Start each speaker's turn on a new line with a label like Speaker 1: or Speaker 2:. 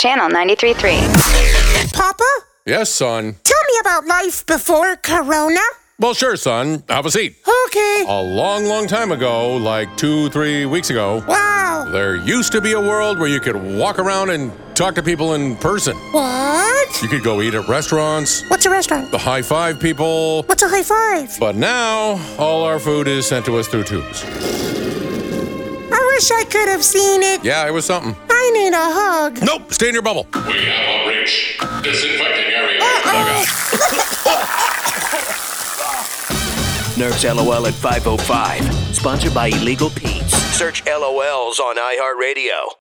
Speaker 1: Channel 93.3.
Speaker 2: Papa,
Speaker 3: Yes, son.
Speaker 2: tell me about life before Corona. Oh,
Speaker 3: Well, sure, son. Have a seat.
Speaker 2: Okay.
Speaker 3: A long, long time ago, like two, three weeks ago,
Speaker 2: Wow.
Speaker 3: there used to be a world where you could walk around and talk to people in person.
Speaker 2: What?
Speaker 3: You could go eat at restaurants,
Speaker 2: What's a restaurant?
Speaker 3: the high five people.
Speaker 2: What's a high five?
Speaker 3: But now, all our food is sent to us through tubes.
Speaker 2: I wish I could have seen it.
Speaker 3: Yeah, it was something.
Speaker 2: I need a hug.
Speaker 3: Nope, stay in your bubble.
Speaker 4: We have a breach. Disinfecting area.
Speaker 5: Nerf's LOL at 505. Sponsored by Illegal Pete's. Search LOLs on iHeartRadio.